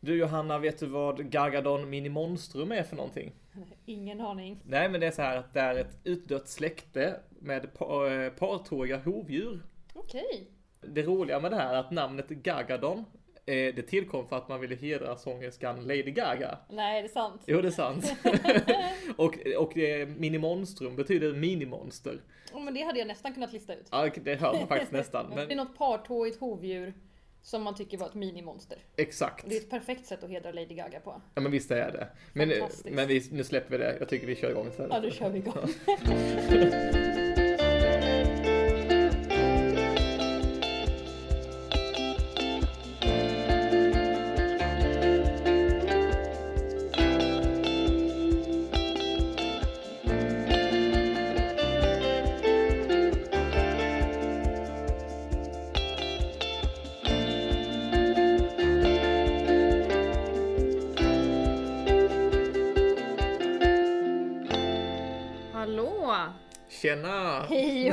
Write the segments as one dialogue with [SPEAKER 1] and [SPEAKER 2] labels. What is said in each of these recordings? [SPEAKER 1] Du Johanna, vet du vad Gargadon Mini Monstrum är för någonting?
[SPEAKER 2] Ingen aning.
[SPEAKER 1] Nej, men det är så här att det är ett utdött släkte med par, eh, partåriga hovdjur.
[SPEAKER 2] Okej.
[SPEAKER 1] Det roliga med det här är att namnet Gargadon, eh, det tillkom för att man ville hedra sångerskan Lady Gaga.
[SPEAKER 2] Nej, det är sant.
[SPEAKER 1] Jo, det är sant. och och eh, Mini Monstrum betyder minimonster.
[SPEAKER 2] Oh, men det hade jag nästan kunnat lista ut.
[SPEAKER 1] Ja, det hör man faktiskt nästan.
[SPEAKER 2] Det är
[SPEAKER 1] Men
[SPEAKER 2] något partåigt hovdjur som man tycker var ett minimonster.
[SPEAKER 1] exakt.
[SPEAKER 2] Det är ett perfekt sätt att hedra Lady Gaga på.
[SPEAKER 1] Ja, men visst är det. Men, nu-
[SPEAKER 2] Fantastiskt.
[SPEAKER 1] men vi, nu släpper vi det. Jag tycker vi kör igång sen.
[SPEAKER 2] Ja, då kör vi igång. Hallå!
[SPEAKER 1] Tjena!
[SPEAKER 2] Hej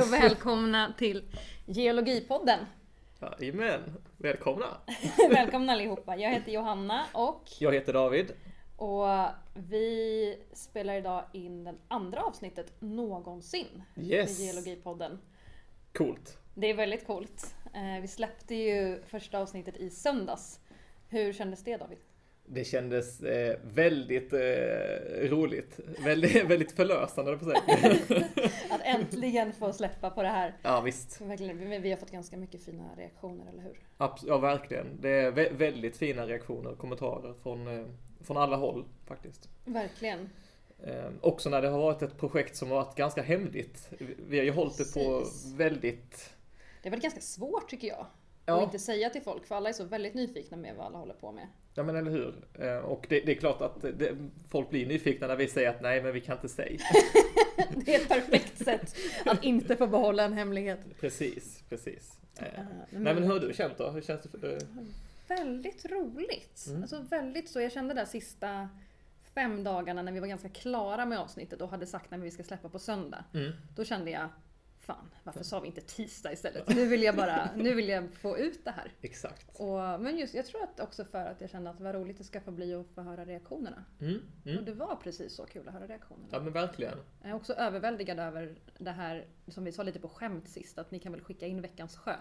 [SPEAKER 2] och välkomna till Geologipodden.
[SPEAKER 1] Jajamän, välkomna!
[SPEAKER 2] Välkomna allihopa. Jag heter Johanna och,
[SPEAKER 1] Jag heter David.
[SPEAKER 2] och vi spelar idag in det andra avsnittet någonsin
[SPEAKER 1] Yes!
[SPEAKER 2] i Geologipodden.
[SPEAKER 1] Coolt.
[SPEAKER 2] Det är väldigt coolt. Eh, Vi släppte ju första avsnittet i söndags. Hur kändes det David?
[SPEAKER 1] Det kändes eh, väldigt eh, roligt. Väldigt, väldigt förlösande, höll jag på att säga.
[SPEAKER 2] Att äntligen få släppa på det här.
[SPEAKER 1] Ja, visst.
[SPEAKER 2] Verkligen, vi- Vi har fått ganska mycket fina reaktioner, eller hur?
[SPEAKER 1] Abs- ja, verkligen. Det är vä- väldigt fina reaktioner och kommentarer från, eh, från alla håll faktiskt.
[SPEAKER 2] Verkligen.
[SPEAKER 1] Eh, också när det har varit ett projekt som har varit ganska hemligt. Vi- Vi har ju hållit det på
[SPEAKER 2] Precis.
[SPEAKER 1] väldigt...
[SPEAKER 2] Det var ganska svårt tycker jag. Att
[SPEAKER 1] Ja,
[SPEAKER 2] inte säga till folk, för alla är så väldigt nyfikna med vad alla håller på med.
[SPEAKER 1] ja men eller hur. Eh, och det, det är klart att det, folk blir nyfikna när vi säger att nej, men vi kan inte säga.
[SPEAKER 2] Det är ett perfekt sätt att inte få behålla en hemlighet.
[SPEAKER 1] precis, precis. Eh,
[SPEAKER 2] Eh,
[SPEAKER 1] nej, men hur har du känt då? Hur känns det? För, eh,
[SPEAKER 2] Väldigt roligt.
[SPEAKER 1] Mm.
[SPEAKER 2] Alltså väldigt så. Jag kände där sista fem dagarna när vi var ganska klara med avsnittet och hade sagt när vi ska släppa på söndag.
[SPEAKER 1] mm.
[SPEAKER 2] Då kände jag, fan varför sa vi inte tisdag istället? Nu vill jag bara, nu vill jag få ut det här.
[SPEAKER 1] Exakt.
[SPEAKER 2] Och, men just, jag tror att också för att jag kände att vad roligt det ska få bli att få höra reaktionerna.
[SPEAKER 1] Mm,
[SPEAKER 2] Och
[SPEAKER 1] mm.
[SPEAKER 2] det var precis så kul att höra reaktionerna.
[SPEAKER 1] Ja men verkligen.
[SPEAKER 2] Jag är också överväldigad över det här som vi sa lite på skämt sist, att ni kan väl skicka in veckans sjö.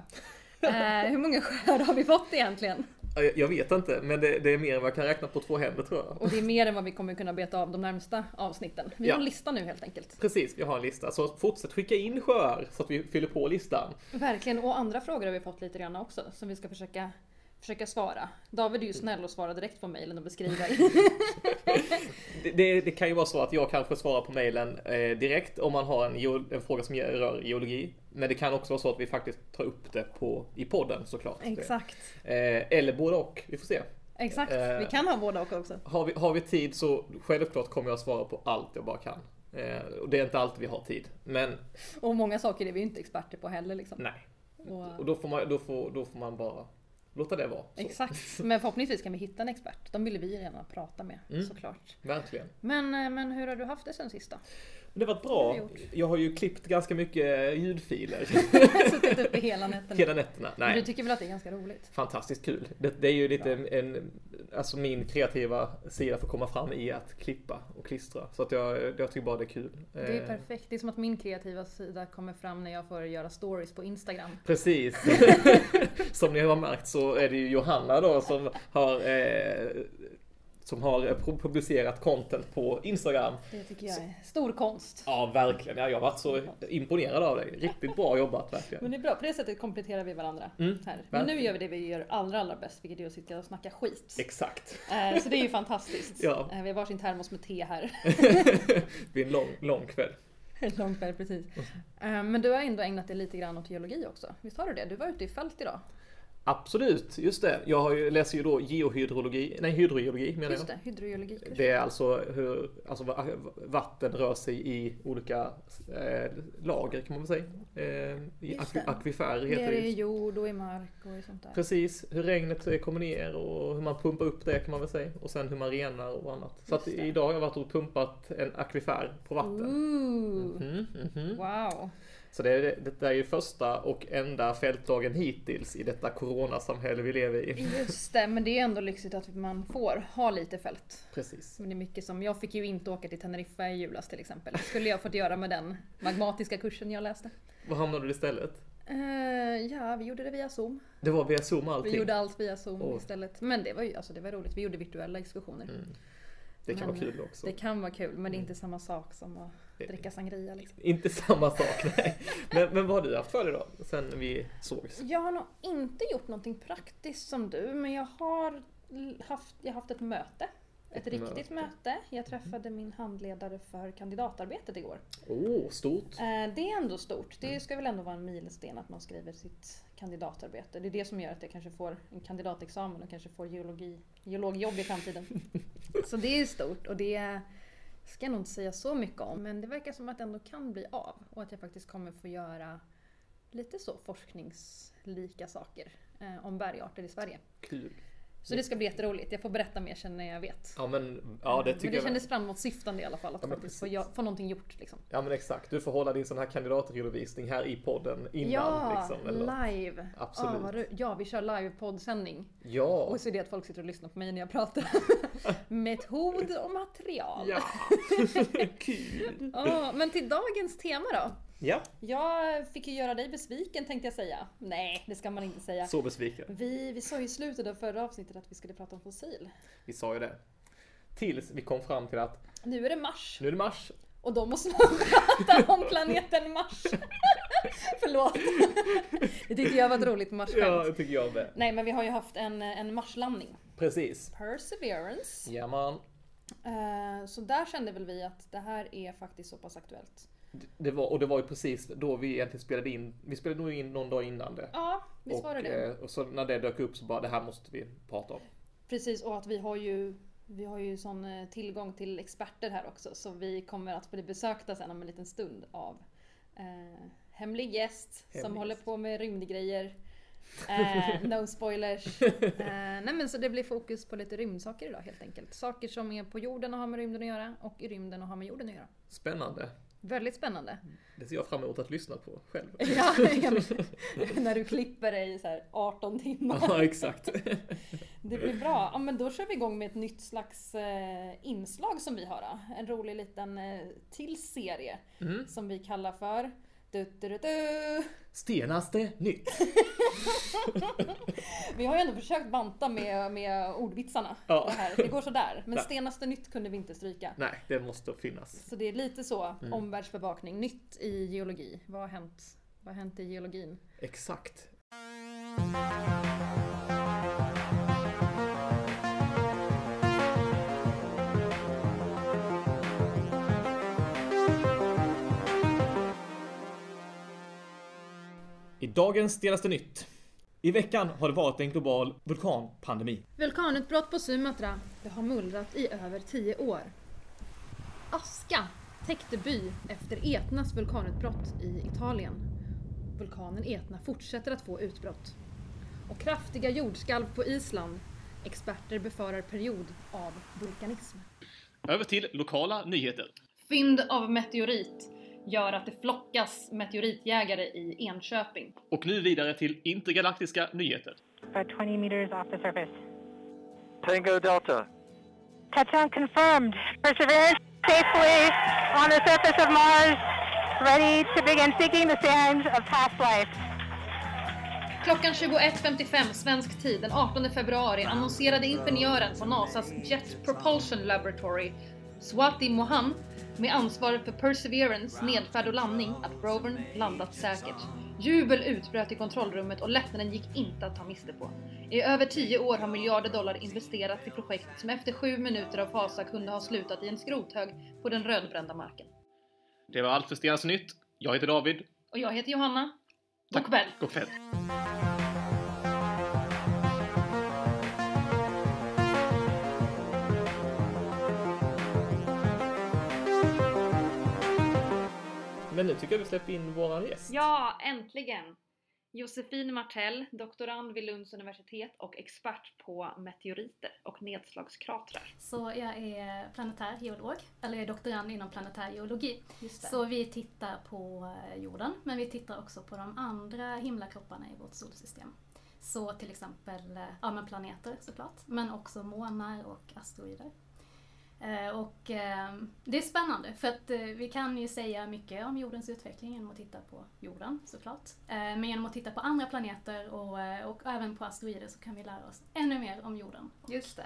[SPEAKER 2] eh, hur många sjöar har vi fått egentligen?
[SPEAKER 1] Ja, Jag jag vet inte, men det, det är mer än vad jag kan räkna på två händer tror jag.
[SPEAKER 2] Och det är mer än vad vi kommer kunna beta av de närmsta avsnitten. Vi
[SPEAKER 1] Ja.
[SPEAKER 2] har en lista nu helt enkelt.
[SPEAKER 1] Precis, vi har en lista. Så fortsätt skicka in sjöar så att vi fyller på listan.
[SPEAKER 2] Verkligen, och andra frågor har vi fått lite grann också som vi ska försöka, försöka svara. David
[SPEAKER 1] Mm.
[SPEAKER 2] är ju snäll och svarar direkt på mejlen och beskriver.
[SPEAKER 1] Det, det, det kan ju vara så att jag kanske svarar på mejlen eh, direkt om man har en, geo- en fråga som ge- rör geologi. Men det kan också vara så att vi faktiskt tar upp det på, i podden såklart.
[SPEAKER 2] Exakt.
[SPEAKER 1] Eh, eller både och, vi får se.
[SPEAKER 2] Exakt,
[SPEAKER 1] Eh.
[SPEAKER 2] vi kan ha båda och också.
[SPEAKER 1] Har vi, har vi tid så självklart kommer jag svara på allt jag bara kan. Eh, och det är inte alltid vi har tid. Men
[SPEAKER 2] Och många saker är vi ju inte experter på heller liksom.
[SPEAKER 1] nej, Mm. och
[SPEAKER 2] Och,
[SPEAKER 1] då får man, då får, då får man bara låta det vara. Så.
[SPEAKER 2] exakt, men förhoppningsvis kan vi hitta en expert. De ville vi gärna prata med
[SPEAKER 1] Mm.
[SPEAKER 2] såklart.
[SPEAKER 1] Verkligen.
[SPEAKER 2] Men, eh, men hur har du haft det sen sist då?
[SPEAKER 1] Men det har varit
[SPEAKER 2] Det
[SPEAKER 1] bra.
[SPEAKER 2] har vi
[SPEAKER 1] Jag har ju klippt ganska mycket eh, ljudfiler
[SPEAKER 2] Suttit uppe hela nätterna.
[SPEAKER 1] hela nätterna.
[SPEAKER 2] Men Du
[SPEAKER 1] Nej,
[SPEAKER 2] tycker väl att det är ganska roligt?
[SPEAKER 1] fantastiskt kul. Det, det är ju lite en, alltså min kreativa sida får komma fram i att klippa och klistra. Så att jag, jag tycker bara det är kul.
[SPEAKER 2] Det är
[SPEAKER 1] Eh,
[SPEAKER 2] perfekt. Det är som att min kreativa sida kommer fram när jag får göra stories på Instagram.
[SPEAKER 1] Precis. som ni har märkt så är det ju Johanna då som har eh, som har pro- publicerat content på Instagram.
[SPEAKER 2] Det tycker jag är stor konst.
[SPEAKER 1] Ja, verkligen. Ja, jag har varit så imponerad av dig. Riktigt bra jobbat verkligen.
[SPEAKER 2] Men det är bra, på det sättet kompletterar vi varandra.
[SPEAKER 1] Mm,
[SPEAKER 2] här. Men nu
[SPEAKER 1] verkligen.
[SPEAKER 2] gör vi det vi gör allra, allra bäst, vilket är att sitta och snacka skit.
[SPEAKER 1] Exakt.
[SPEAKER 2] Eh, Så det är ju fantastiskt.
[SPEAKER 1] Ja.
[SPEAKER 2] Eh, Vi har varsin termos med te här.
[SPEAKER 1] Det blir en lång, lång kväll.
[SPEAKER 2] Långt där, precis. Eh, Men du har ändå ägnat dig lite grann åt geologi också. Visst har du det? Du var ute i fält idag.
[SPEAKER 1] Absolut, just det. Jag har ju, läser ju då geohydrologi, nej hydrogeologi menar
[SPEAKER 2] Just
[SPEAKER 1] jag.
[SPEAKER 2] det, hydrogeologikurs.
[SPEAKER 1] Det är alltså hur alltså va- vatten rör sig i olika eh, lager kan man väl säga. Eh, i
[SPEAKER 2] Just
[SPEAKER 1] akvi-
[SPEAKER 2] det.
[SPEAKER 1] akvifer heter
[SPEAKER 2] Ner
[SPEAKER 1] det
[SPEAKER 2] i
[SPEAKER 1] ju.
[SPEAKER 2] jord och i mark och i sånt där.
[SPEAKER 1] Precis, hur regnet eh, kommer ner och hur man pumpar upp det kan man väl säga. Och sen hur man renar och annat. Så att
[SPEAKER 2] Just det.
[SPEAKER 1] idag har jag varit och pumpat en akvifer på vatten.
[SPEAKER 2] Ooh,
[SPEAKER 1] Mhm, mhm.
[SPEAKER 2] wow.
[SPEAKER 1] Så det, det, detta är ju första och enda fältdagen hittills i detta coronasamhälle vi lever i.
[SPEAKER 2] Just det, men det är ändå lyxigt att man får ha lite fält.
[SPEAKER 1] Precis.
[SPEAKER 2] Men det är mycket som, jag fick ju inte åka till Teneriffa i julas till exempel. Skulle jag fått göra med den magmatiska kursen jag läste.
[SPEAKER 1] Vad hamnade du istället?
[SPEAKER 2] Eh, ja, vi gjorde det via zoom.
[SPEAKER 1] Det var via Zoom
[SPEAKER 2] Vi
[SPEAKER 1] allting.
[SPEAKER 2] gjorde allt via zoom
[SPEAKER 1] Åh.
[SPEAKER 2] istället. Men det var ju alltså, det var roligt. Vi gjorde virtuella diskussioner.
[SPEAKER 1] Mm. Det kan
[SPEAKER 2] Men,
[SPEAKER 1] vara kul också.
[SPEAKER 2] Det kan vara kul, men det är
[SPEAKER 1] Mm.
[SPEAKER 2] inte samma sak som att dricka sangria liksom.
[SPEAKER 1] Eh, Inte samma sak, nej. Men, men vad har du haft för dig då? Sen vi sågs?
[SPEAKER 2] Jag har nog inte gjort någonting praktiskt som du, men jag har l- haft, jag har haft ett möte.
[SPEAKER 1] Ett
[SPEAKER 2] Ett, riktigt
[SPEAKER 1] möte.
[SPEAKER 2] möte. Jag träffade min handledare för kandidatarbetet igår.
[SPEAKER 1] Åh, stort!
[SPEAKER 2] Eh, Det är ändå stort. Det
[SPEAKER 1] Mm.
[SPEAKER 2] ska väl ändå vara en milsten att man skriver sitt kandidatarbete. Det är det som gör att jag kanske får en kandidatexamen och kanske får geologi, geologjobb i framtiden. så det är stort och det ska jag nog inte säga så mycket om. Men det verkar som att det ändå kan bli av och att jag faktiskt kommer få göra lite så forskningslika saker eh, om bergarter i Sverige.
[SPEAKER 1] Kul.
[SPEAKER 2] Så det ska bli jätteroligt. Jag får berätta mer sen när jag vet.
[SPEAKER 1] Ja men, ja det
[SPEAKER 2] men
[SPEAKER 1] tycker
[SPEAKER 2] det
[SPEAKER 1] jag.
[SPEAKER 2] kändes framåtsyftande i alla fall att
[SPEAKER 1] Ja, men
[SPEAKER 2] faktiskt få,
[SPEAKER 1] precis.
[SPEAKER 2] gö- få någonting gjort. Liksom.
[SPEAKER 1] Ja men exakt, du får hålla din sån här kandidatredovisning här i podden innan
[SPEAKER 2] ja,
[SPEAKER 1] liksom. Eller?
[SPEAKER 2] live!
[SPEAKER 1] Absolut.
[SPEAKER 2] Ja, vad ro- ja, vi kör live-poddsändning.
[SPEAKER 1] Ja!
[SPEAKER 2] Och så är det att folk sitter och lyssnar på mig när jag pratar. Metod och material.
[SPEAKER 1] Ja! Kul!
[SPEAKER 2] Ja, men till dagens tema då.
[SPEAKER 1] Ja,
[SPEAKER 2] Jag fick ju göra dig besviken tänkte jag säga. Nej, det ska man inte säga.
[SPEAKER 1] så besviken.
[SPEAKER 2] Vi, vi sa ju i slutet av förra avsnittet att vi skulle prata om fossil.
[SPEAKER 1] Vi sa ju det. Tills vi kom fram till att
[SPEAKER 2] Nu är det Mars
[SPEAKER 1] nu är det mars.
[SPEAKER 2] och då måste man prata om planeten Mars. Förlåt. Det tyckte jag var ett roligt
[SPEAKER 1] Ja,
[SPEAKER 2] Mars-skämt.
[SPEAKER 1] det tycker jag med.
[SPEAKER 2] Nej, men vi har ju haft en, en Marslandning.
[SPEAKER 1] Precis.
[SPEAKER 2] Perseverance.
[SPEAKER 1] Ja man.
[SPEAKER 2] Eh, Så där kände väl vi att det här är faktiskt så pass aktuellt.
[SPEAKER 1] Det var, och det var ju precis då vi egentligen spelade in. Vi spelade nog in någon dag innan det.
[SPEAKER 2] Ja, visst var det
[SPEAKER 1] och,
[SPEAKER 2] det.
[SPEAKER 1] eh, och så när det dök upp så bara det här måste vi prata om.
[SPEAKER 2] Precis, och att vi har ju vi har ju sån eh, tillgång till experter här också så vi kommer att bli besökta sen om en liten stund av eh, hemlig gäst som
[SPEAKER 1] Hemlig
[SPEAKER 2] håller
[SPEAKER 1] gäst.
[SPEAKER 2] på med rymdgrejer. Eh, no spoilers. Eh, nej men så det blir fokus på lite rymdsaker idag helt enkelt. Saker som är på jorden och har med rymden att göra och i rymden och har med jorden att göra.
[SPEAKER 1] Spännande.
[SPEAKER 2] Väldigt spännande.
[SPEAKER 1] Det ser jag fram emot att lyssna på själv.
[SPEAKER 2] Ja, jag menar, när du klipper dig i så här 18 timmar.
[SPEAKER 1] ja, exakt.
[SPEAKER 2] Det blir bra. Ja, men då kör vi igång med ett nytt slags eh, inslag som vi har. Då. En rolig liten eh, till serie
[SPEAKER 1] Mm.
[SPEAKER 2] som vi kallar för du, du, du, du.
[SPEAKER 1] Senaste nytt.
[SPEAKER 2] Vi har ju ändå försökt banta med, med ordvitsarna.
[SPEAKER 1] Ja.
[SPEAKER 2] Det, här. det går sådär. Men
[SPEAKER 1] Ja.
[SPEAKER 2] senaste nytt kunde vi inte stryka.
[SPEAKER 1] Nej, det måste finnas.
[SPEAKER 2] Så det är lite så,
[SPEAKER 1] Mm.
[SPEAKER 2] omvärldsbevakning. Nytt i geologi. Vad har hänt? Vad har hänt i geologin?
[SPEAKER 1] Exakt. I dagens senaste nytt. I veckan har det varit en global vulkanpandemi.
[SPEAKER 2] Vulkanutbrott på Sumatra. Det har mullrat i över 10 år. Aska täckte by efter Etnas vulkanutbrott i Italien. Vulkanen Etna fortsätter att få utbrott. Och kraftiga jordskalv på Island. Experter befarar period av vulkanism.
[SPEAKER 1] Över till lokala nyheter.
[SPEAKER 2] Fynd av meteorit gör att det flockas meteoritjägare i Enköping.
[SPEAKER 1] Och nu vidare till intergalaktiska nyheter.
[SPEAKER 3] about 20 meters off the surface.
[SPEAKER 4] Tango Delta.
[SPEAKER 3] Touchdown confirmed. Perseverance safely on the surface of Mars, ready to begin seeking the sands of past life.
[SPEAKER 2] Klockan 21.55 svensk tid den 18 februari annonserade ingenjören på NASAs Jet Propulsion Laboratory, Swati Mohan, med ansvar för Perseverance, nedfärd och landning, att rovern landat säkert. Jubel utbröt i kontrollrummet och lättnaden gick inte att ta miste på. I över 10 år har miljarder dollar investerats i projekt som efter 7 minuter av fasa kunde ha slutat i en skrothög på den rödbrända marken.
[SPEAKER 1] Det var allt för senaste nytt. Jag heter David.
[SPEAKER 2] Och jag heter Johanna. God kväll!
[SPEAKER 1] God kväll. Men nu tycker jag vi släpper in våran gäst.
[SPEAKER 2] Ja, äntligen!
[SPEAKER 5] Josefin Martell, doktorand vid Lunds universitet och expert på meteoriter och nedslagskratrar.
[SPEAKER 6] Så jag är planetär geolog, eller jag är doktorand inom planetär geologi.
[SPEAKER 5] Just det.
[SPEAKER 6] Så vi tittar på eh, jorden, men vi tittar också på de andra himlakropparna i vårt solsystem. Så till exempel eh, ja, men planeter såklart, men också månar och asteroider. Eh, Och eh, det är spännande för att eh, vi kan ju säga mycket om jordens utveckling genom att titta på jorden såklart. Eh, Men genom att titta på andra planeter och, eh, och även på asteroider så kan vi lära oss ännu mer om jorden.
[SPEAKER 2] Just det.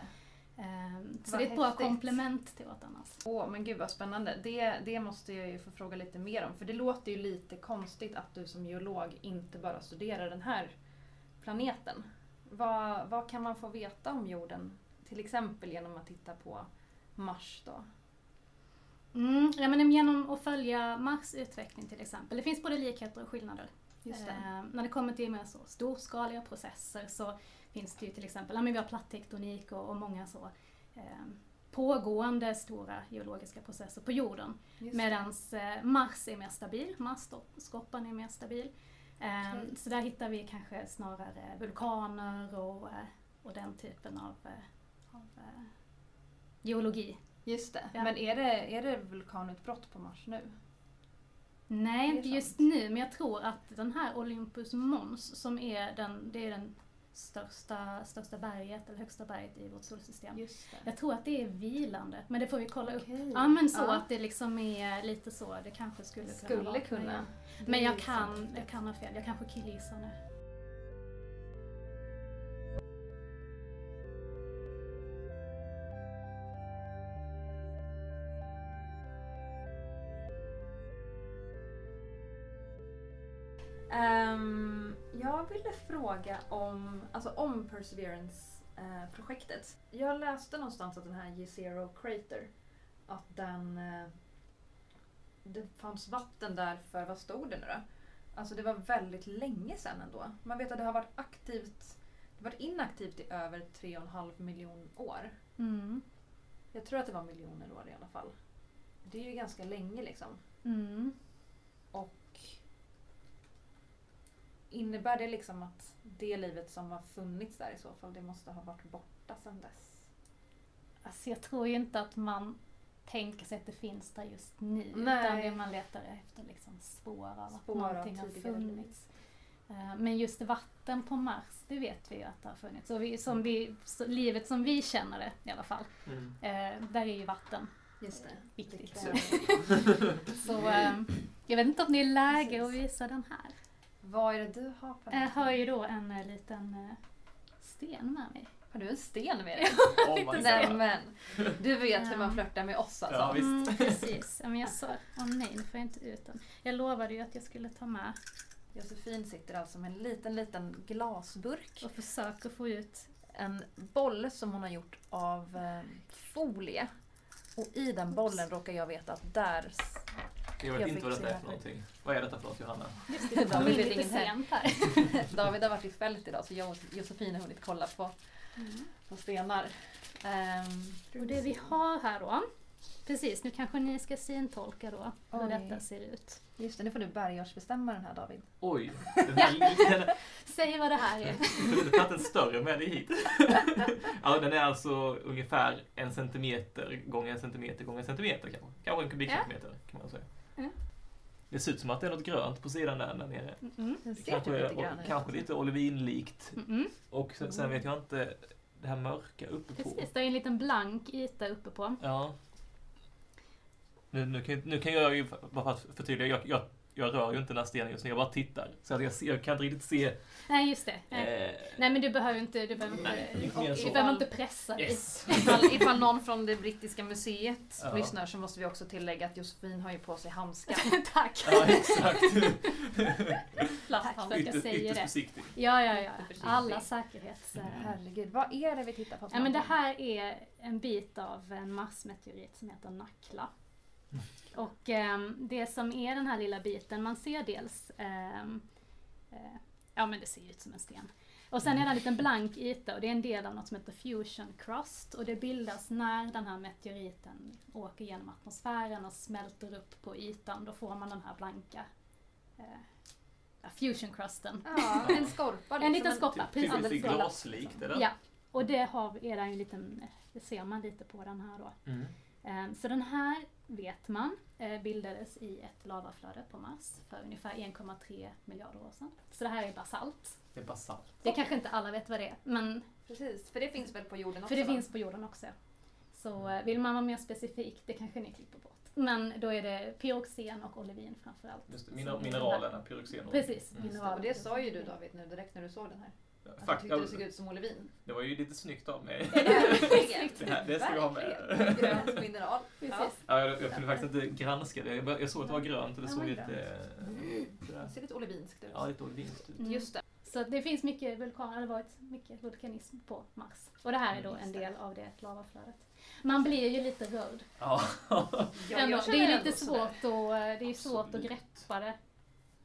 [SPEAKER 6] Ehm, Så
[SPEAKER 2] Vad
[SPEAKER 6] det är ett bra
[SPEAKER 2] häftigt.
[SPEAKER 6] komplement till vårt annat.
[SPEAKER 2] Åh, men gud vad spännande. Det, det måste jag ju få fråga lite mer om. För det låter ju lite konstigt att du som geolog inte bara studerar den här planeten. Vad, vad kan man få veta om jorden? Till exempel genom att titta på Mars då.
[SPEAKER 6] Mm, ja, men genom att följa Mars utveckling till exempel. Det finns både likheter och skillnader. Eh, när det kommer till mer så storskaliga processer så finns det ju till exempel, ja, men vi har plattektonik och, och många så eh, pågående stora geologiska processer på jorden.
[SPEAKER 2] Just det.
[SPEAKER 6] Medan eh, Mars är mer stabil, Marsskorpan är mer stabil. Eh,
[SPEAKER 2] Okej.
[SPEAKER 6] Så där hittar vi kanske snarare vulkaner och, eh, och den typen av, eh, av eh, geologi.
[SPEAKER 2] Just det.
[SPEAKER 6] Ja.
[SPEAKER 2] Men är det, är det vulkanutbrott på Mars nu?
[SPEAKER 6] Nej,
[SPEAKER 2] Det är
[SPEAKER 6] inte just
[SPEAKER 2] sant.
[SPEAKER 6] nu, men jag tror att den här Olympus Mons som är den, det är den största, största berget, eller högsta berget i vårt solsystem.
[SPEAKER 2] Just det.
[SPEAKER 6] Jag tror att det är vilande, men det får vi kolla upp.
[SPEAKER 2] Okej.
[SPEAKER 6] Ja men så
[SPEAKER 2] Ja.
[SPEAKER 6] att det liksom är lite så, det kanske skulle kunna
[SPEAKER 2] Skulle
[SPEAKER 6] vara.
[SPEAKER 2] kunna.
[SPEAKER 6] Men
[SPEAKER 2] Det
[SPEAKER 6] jag
[SPEAKER 2] är
[SPEAKER 6] kan,
[SPEAKER 2] sant.
[SPEAKER 6] jag kan ha fel, jag kanske killgissar nu.
[SPEAKER 2] Ehm, jag ville fråga om, alltså om Perseverance-projektet. jag läste någonstans att den här Jezero Crater, att den... eh, det fanns vatten där för, vad stod det nu då? Alltså det var väldigt länge sedan ändå. Man vet att det har varit aktivt, det har varit inaktivt i över 3,5 miljon år.
[SPEAKER 6] Mm.
[SPEAKER 2] Jag tror att det var miljoner år i alla fall. Det är ju ganska länge liksom.
[SPEAKER 6] Mm.
[SPEAKER 2] Och innebär det liksom att det livet som har funnits där i så fall, det måste ha varit borta sedan dess?
[SPEAKER 6] Alltså jag tror ju inte att man tänker sig att det finns där just nu.
[SPEAKER 2] Nej.
[SPEAKER 6] Utan det man letar efter liksom spår av att
[SPEAKER 2] Spår av
[SPEAKER 6] någonting har
[SPEAKER 2] tidigare
[SPEAKER 6] funnits. Eh, Men just vatten på Mars, det vet vi ju att det har funnits. Och vi,
[SPEAKER 2] Mm.
[SPEAKER 6] som vi, så, livet som vi känner det i alla fall,
[SPEAKER 7] Mm.
[SPEAKER 6] eh, där är ju vatten
[SPEAKER 2] Just det.
[SPEAKER 6] viktigt.
[SPEAKER 2] Vilka-
[SPEAKER 6] Så eh, jag vet inte om det är läge att visa den här.
[SPEAKER 2] Vad är det du har på
[SPEAKER 6] Jag har
[SPEAKER 2] har,
[SPEAKER 6] ju då en eh, liten eh, sten med mig.
[SPEAKER 2] har du en sten med dig?
[SPEAKER 7] Oh my god.
[SPEAKER 2] Nej men, du vet hur
[SPEAKER 6] Ja.
[SPEAKER 2] man flörtar med oss alltså.
[SPEAKER 7] Ja, visst.
[SPEAKER 6] Mm, precis. Ja, Men jag sa, åh nej, nu får jag inte ut den. Jag lovade ju att jag skulle ta med
[SPEAKER 2] Josefin sitter alltså med en liten, liten glasburk.
[SPEAKER 6] och försöker få ut.
[SPEAKER 2] En boll som hon har gjort av eh, folie. Och i den bollen råkar jag veta att där...
[SPEAKER 1] Jag vet
[SPEAKER 2] Jag
[SPEAKER 1] inte vad
[SPEAKER 2] fick
[SPEAKER 1] detta är
[SPEAKER 2] se
[SPEAKER 1] för någonting. Vad är detta för något Johanna?
[SPEAKER 6] Just
[SPEAKER 2] det,
[SPEAKER 6] det,
[SPEAKER 2] vi
[SPEAKER 6] vi
[SPEAKER 2] vet
[SPEAKER 6] är lite
[SPEAKER 2] ingen här.
[SPEAKER 6] sent här.
[SPEAKER 2] David har varit i fält idag så jag och Josefin har hunnit kolla på på stenar. Ehm,
[SPEAKER 6] Och det vi har här då. Precis, nu kanske ni ska syntolka då hur
[SPEAKER 2] Oj.
[SPEAKER 6] detta ser ut.
[SPEAKER 2] Just det, nu får du bergartsbestämma den här David.
[SPEAKER 1] Oj! Den här liten...
[SPEAKER 6] Säg vad det här är.
[SPEAKER 1] Du har tagit en större med dig hit. Ja, den är alltså ungefär en centimeter gånger en centimeter gånger en centimeter kanske. Kanske en kubikcentimeter kan man säga.
[SPEAKER 6] Mm.
[SPEAKER 1] Det ser ut som att det är något grönt på sidan där, där nere.
[SPEAKER 6] Mm.
[SPEAKER 2] Den ser
[SPEAKER 1] Kanske,
[SPEAKER 2] typ lite grann
[SPEAKER 1] och,
[SPEAKER 2] ut.
[SPEAKER 1] kanske lite olivinlikt.
[SPEAKER 6] Mm.
[SPEAKER 1] Och sen, sen vet jag inte, det här mörka uppe på.
[SPEAKER 6] Precis, det är en liten blank yta uppe på.
[SPEAKER 1] Ja. Nu, nu, kan, ju- nu kan jag ju, bara för att förtydliga, jag, jag, jag rör ju inte den här stenen just nu, jag bara tittar. Så att jag, ser, jag kan inte riktigt se...
[SPEAKER 6] Nej, just det. Nej,
[SPEAKER 1] Eh,
[SPEAKER 6] Nej men du behöver inte, du behöver
[SPEAKER 1] Nej,
[SPEAKER 6] inte,
[SPEAKER 1] inte mer än
[SPEAKER 6] du
[SPEAKER 1] så.
[SPEAKER 6] behöver inte pressa dig.
[SPEAKER 1] yes!
[SPEAKER 2] Ifall, ifall någon från det brittiska museet
[SPEAKER 1] Ja.
[SPEAKER 2] lyssnar så måste vi också tillägga att Josefin har ju på sig handskar.
[SPEAKER 6] Tack!
[SPEAKER 1] Ja, exakt.
[SPEAKER 6] Plasthandskar, jag
[SPEAKER 1] Ytterst,
[SPEAKER 6] säger
[SPEAKER 1] ytterst
[SPEAKER 6] det.
[SPEAKER 1] försiktig.
[SPEAKER 6] Ja, ja, ja.
[SPEAKER 5] Precis.
[SPEAKER 6] Alla säkerhets... eh,
[SPEAKER 2] Herregud, vad är det vi tittar på? för
[SPEAKER 6] Ja, men det
[SPEAKER 2] någonting?
[SPEAKER 6] här är en bit av en marsmeteorit som heter Nakla. Och ehm, det som är den här lilla biten, man ser dels, ehm, eh, ja men det ser ut som en sten. Och sen är det en liten blank yta och det är en del av något som heter fusion crust och det bildas när den här meteoriten åker genom atmosfären och smälter upp på ytan, då får man den här blanka eh, skorpa, fusioncrusten.
[SPEAKER 2] Ja, en skorpa.
[SPEAKER 6] En
[SPEAKER 2] liksom,
[SPEAKER 6] liten
[SPEAKER 2] men
[SPEAKER 6] skorpa,
[SPEAKER 1] Typ
[SPEAKER 6] precis.
[SPEAKER 1] lite
[SPEAKER 6] alldeles runda.
[SPEAKER 1] glaslikt eller?
[SPEAKER 6] Ja, och det har, är där ju en liten, det ser man lite på den här då.
[SPEAKER 1] Mm.
[SPEAKER 6] Ehm, Så den här vet man eh, bildades i ett lavaflöde på Mars för ungefär 1,3 miljarder år sedan. Så det här är basalt.
[SPEAKER 1] Det är basalt.
[SPEAKER 6] Det kanske inte alla vet vad det är, men
[SPEAKER 2] Precis, för det finns väl på jorden också?
[SPEAKER 6] för det
[SPEAKER 2] va?
[SPEAKER 6] finns på jorden också. Så eh, vill man vara mer specifik, det kanske ni klipper bort. Men då är det pyroxen och olivin framförallt.
[SPEAKER 1] Just det, mina- mineralerna, pyroxenol.
[SPEAKER 6] Precis,
[SPEAKER 1] Mm.
[SPEAKER 6] mineraler.
[SPEAKER 2] Och det sa ju du David nu direkt när du såg den här. Att
[SPEAKER 1] Fakt,
[SPEAKER 2] du tyckte det såg ut som olivin.
[SPEAKER 1] det var ju lite snyggt av mig.
[SPEAKER 2] Verkligen.
[SPEAKER 1] Det, här, det ska vi ha med.
[SPEAKER 2] Verkligen. Grönt mineral. Ja.
[SPEAKER 6] Precis.
[SPEAKER 1] Ja, jag, jag kunde faktiskt inte granska det. Jag, bara- jag såg att det var grönt och det
[SPEAKER 6] Ja,
[SPEAKER 1] såg
[SPEAKER 6] men
[SPEAKER 1] lite...
[SPEAKER 2] Det
[SPEAKER 1] sådär.
[SPEAKER 2] ser lite olivinskt ut.
[SPEAKER 1] Ja, lite olivinskt ut.
[SPEAKER 6] Mm.
[SPEAKER 2] Just det.
[SPEAKER 6] Så det finns mycket vulkan, det har varit mycket vulkanism på Mars. Och det här är då
[SPEAKER 2] Mm,
[SPEAKER 6] en
[SPEAKER 2] just det.
[SPEAKER 6] del av det lavaflödet. Man blir ju lite rörd.
[SPEAKER 1] Ja.
[SPEAKER 2] Ja,
[SPEAKER 6] ändå.
[SPEAKER 2] jag
[SPEAKER 6] Det är
[SPEAKER 2] känner
[SPEAKER 6] lite
[SPEAKER 2] ändå
[SPEAKER 6] svårt,
[SPEAKER 2] sådär.
[SPEAKER 6] att, eh, det är svårt att
[SPEAKER 1] Absolut.
[SPEAKER 6] greppa det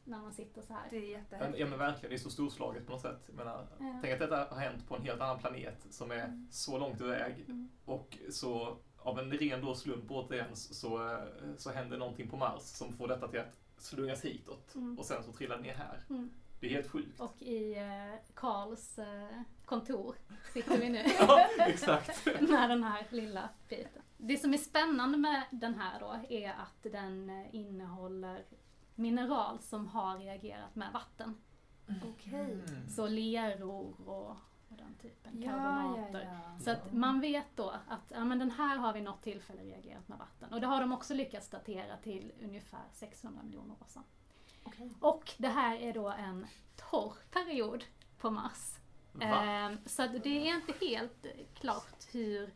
[SPEAKER 6] när man sitter så här.
[SPEAKER 2] Det är
[SPEAKER 1] Men,
[SPEAKER 2] jättehäftigt.
[SPEAKER 1] ja men verkligen, det är så storslaget på något sätt. Jag menar,
[SPEAKER 6] Ja.
[SPEAKER 1] Tänk att detta har hänt på en helt annan planet som är så långt iväg
[SPEAKER 6] Mm.
[SPEAKER 1] och så av en ren då slump återigen så, eh, så händer någonting på Mars som får detta till att slungas hitåt
[SPEAKER 6] Mm.
[SPEAKER 1] och sen så trillar det ner här.
[SPEAKER 6] Mm.
[SPEAKER 1] Det är helt sjukt.
[SPEAKER 6] Och i eh, Karls eh, kontor sitter vi nu
[SPEAKER 1] Ja, exakt.
[SPEAKER 6] med den här lilla biten. Det som är spännande med den här då är att den eh, innehåller mineral som har reagerat med vatten.
[SPEAKER 2] Okej.
[SPEAKER 1] Mm.
[SPEAKER 6] Så leror och, och den typen,
[SPEAKER 2] Ja, ja,
[SPEAKER 6] karbonater.
[SPEAKER 2] ja. Mm.
[SPEAKER 6] Så att man vet då att ja, men den här har vid något tillfälle reagerat med vatten. Och det har de också lyckats datera till ungefär 600 miljoner år sedan. Och det här är då en torr period på Mars.
[SPEAKER 1] Va?
[SPEAKER 6] Ehm, så att det är inte helt eh, klart hur,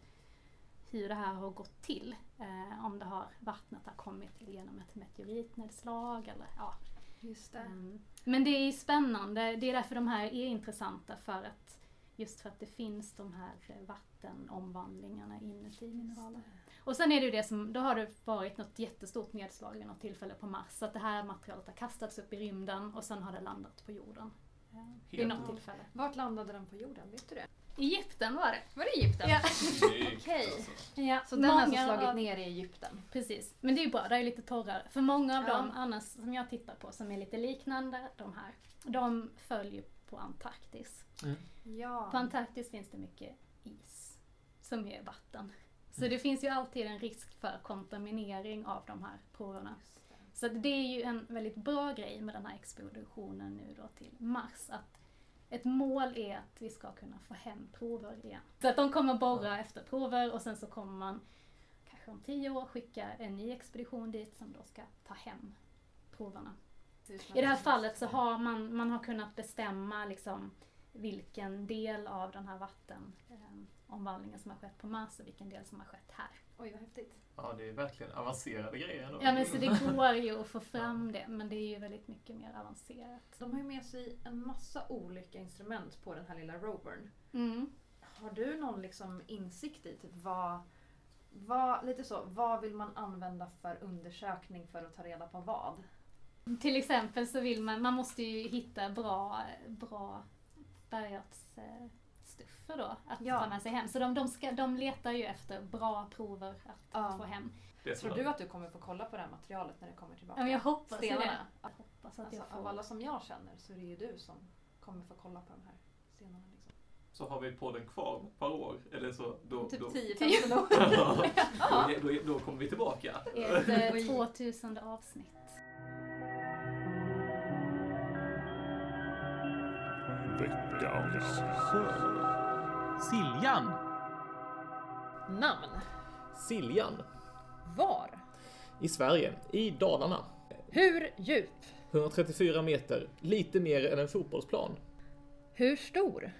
[SPEAKER 6] hur det här har gått till. Eh, om det har vattnet har kommit till genom ett meteoritnedslag eller ja.
[SPEAKER 2] Just det.
[SPEAKER 6] Ehm, Men det är spännande, det är därför de här är intressanta för att just för att det finns de här eh, vattenomvandlingarna inuti mineraler. Och sen är det ju det som, då har det varit något jättestort nedslag vid något tillfälle på Mars så att det här materialet har kastats upp i rymden och sen har det landat på jorden. Vid något
[SPEAKER 1] Helt
[SPEAKER 6] tillfälle.
[SPEAKER 2] Vart landade den på jorden? Vet du det?
[SPEAKER 6] Egypten var det.
[SPEAKER 2] Var det Egypten?
[SPEAKER 6] Ja.
[SPEAKER 1] snyggt
[SPEAKER 2] Okej.
[SPEAKER 1] alltså.
[SPEAKER 6] Ja,
[SPEAKER 2] Så den har alltså
[SPEAKER 6] många
[SPEAKER 2] slagit
[SPEAKER 6] av-
[SPEAKER 2] ner i Egypten?
[SPEAKER 6] Precis, men det är ju bra, det är lite torrare. För många av
[SPEAKER 2] Ja.
[SPEAKER 6] dem annars som jag tittar på som är lite liknande de här, de följer på Antarktis.
[SPEAKER 2] Ja.
[SPEAKER 6] På Antarktis finns det mycket is som är vatten. Så det finns ju alltid en risk för kontaminering av de här proverna. Så att det är ju en väldigt bra grej med den här expeditionen nu då till Mars. Att ett mål är att vi ska kunna få hem prover igen. Så att de kommer borra efter prover och sen så kommer man kanske om tio år skicka en ny expedition dit som då ska ta hem proverna. I det här fallet så har man, man har kunnat bestämma liksom vilken del av den här vattenomvandlingen som har skett på Mars och vilken del som har skett här.
[SPEAKER 2] Oj, vad häftigt.
[SPEAKER 1] Ja, det är verkligen avancerade grejer ändå.
[SPEAKER 6] Ja men så det går ju att få fram det men det är ju väldigt mycket mer avancerat.
[SPEAKER 2] De har ju med sig en massa olika instrument på den här lilla rovern.
[SPEAKER 6] Mm.
[SPEAKER 2] Har du någon liksom insikt i typ vad, vad, lite så, vad vill man använda för undersökning för att ta reda på vad?
[SPEAKER 6] Till exempel så vill man, man måste ju hitta bra, bra bergartsstuffer då att
[SPEAKER 2] Ja.
[SPEAKER 6] ta med sig hem. Så de, de, ska, de letar ju efter bra prover att
[SPEAKER 2] Ja.
[SPEAKER 6] få hem.
[SPEAKER 1] Det är
[SPEAKER 2] Tror
[SPEAKER 1] som-
[SPEAKER 2] du att du kommer få kolla på det här materialet när det kommer tillbaka?
[SPEAKER 6] Ja, men jag hoppas ju det.
[SPEAKER 2] Stenarna?
[SPEAKER 6] Jag hoppas att
[SPEAKER 2] Alltså,
[SPEAKER 6] jag
[SPEAKER 2] av
[SPEAKER 6] får...
[SPEAKER 2] alla som jag känner så är det ju du som kommer få kolla på de här stenarna. Liksom.
[SPEAKER 1] Så har vi podden kvar om ett par år, eller så då... då.
[SPEAKER 2] Typ 10-15 år.
[SPEAKER 1] då, då, då kommer vi tillbaka.
[SPEAKER 6] Ett eh, 2000 avsnitt.
[SPEAKER 8] Siljan!
[SPEAKER 2] Namn.
[SPEAKER 8] Siljan.
[SPEAKER 2] Var.
[SPEAKER 8] I Sverige, i Dalarna.
[SPEAKER 2] Hur djup?
[SPEAKER 8] 134 meter, lite mer än en fotbollsplan.
[SPEAKER 2] Hur stor?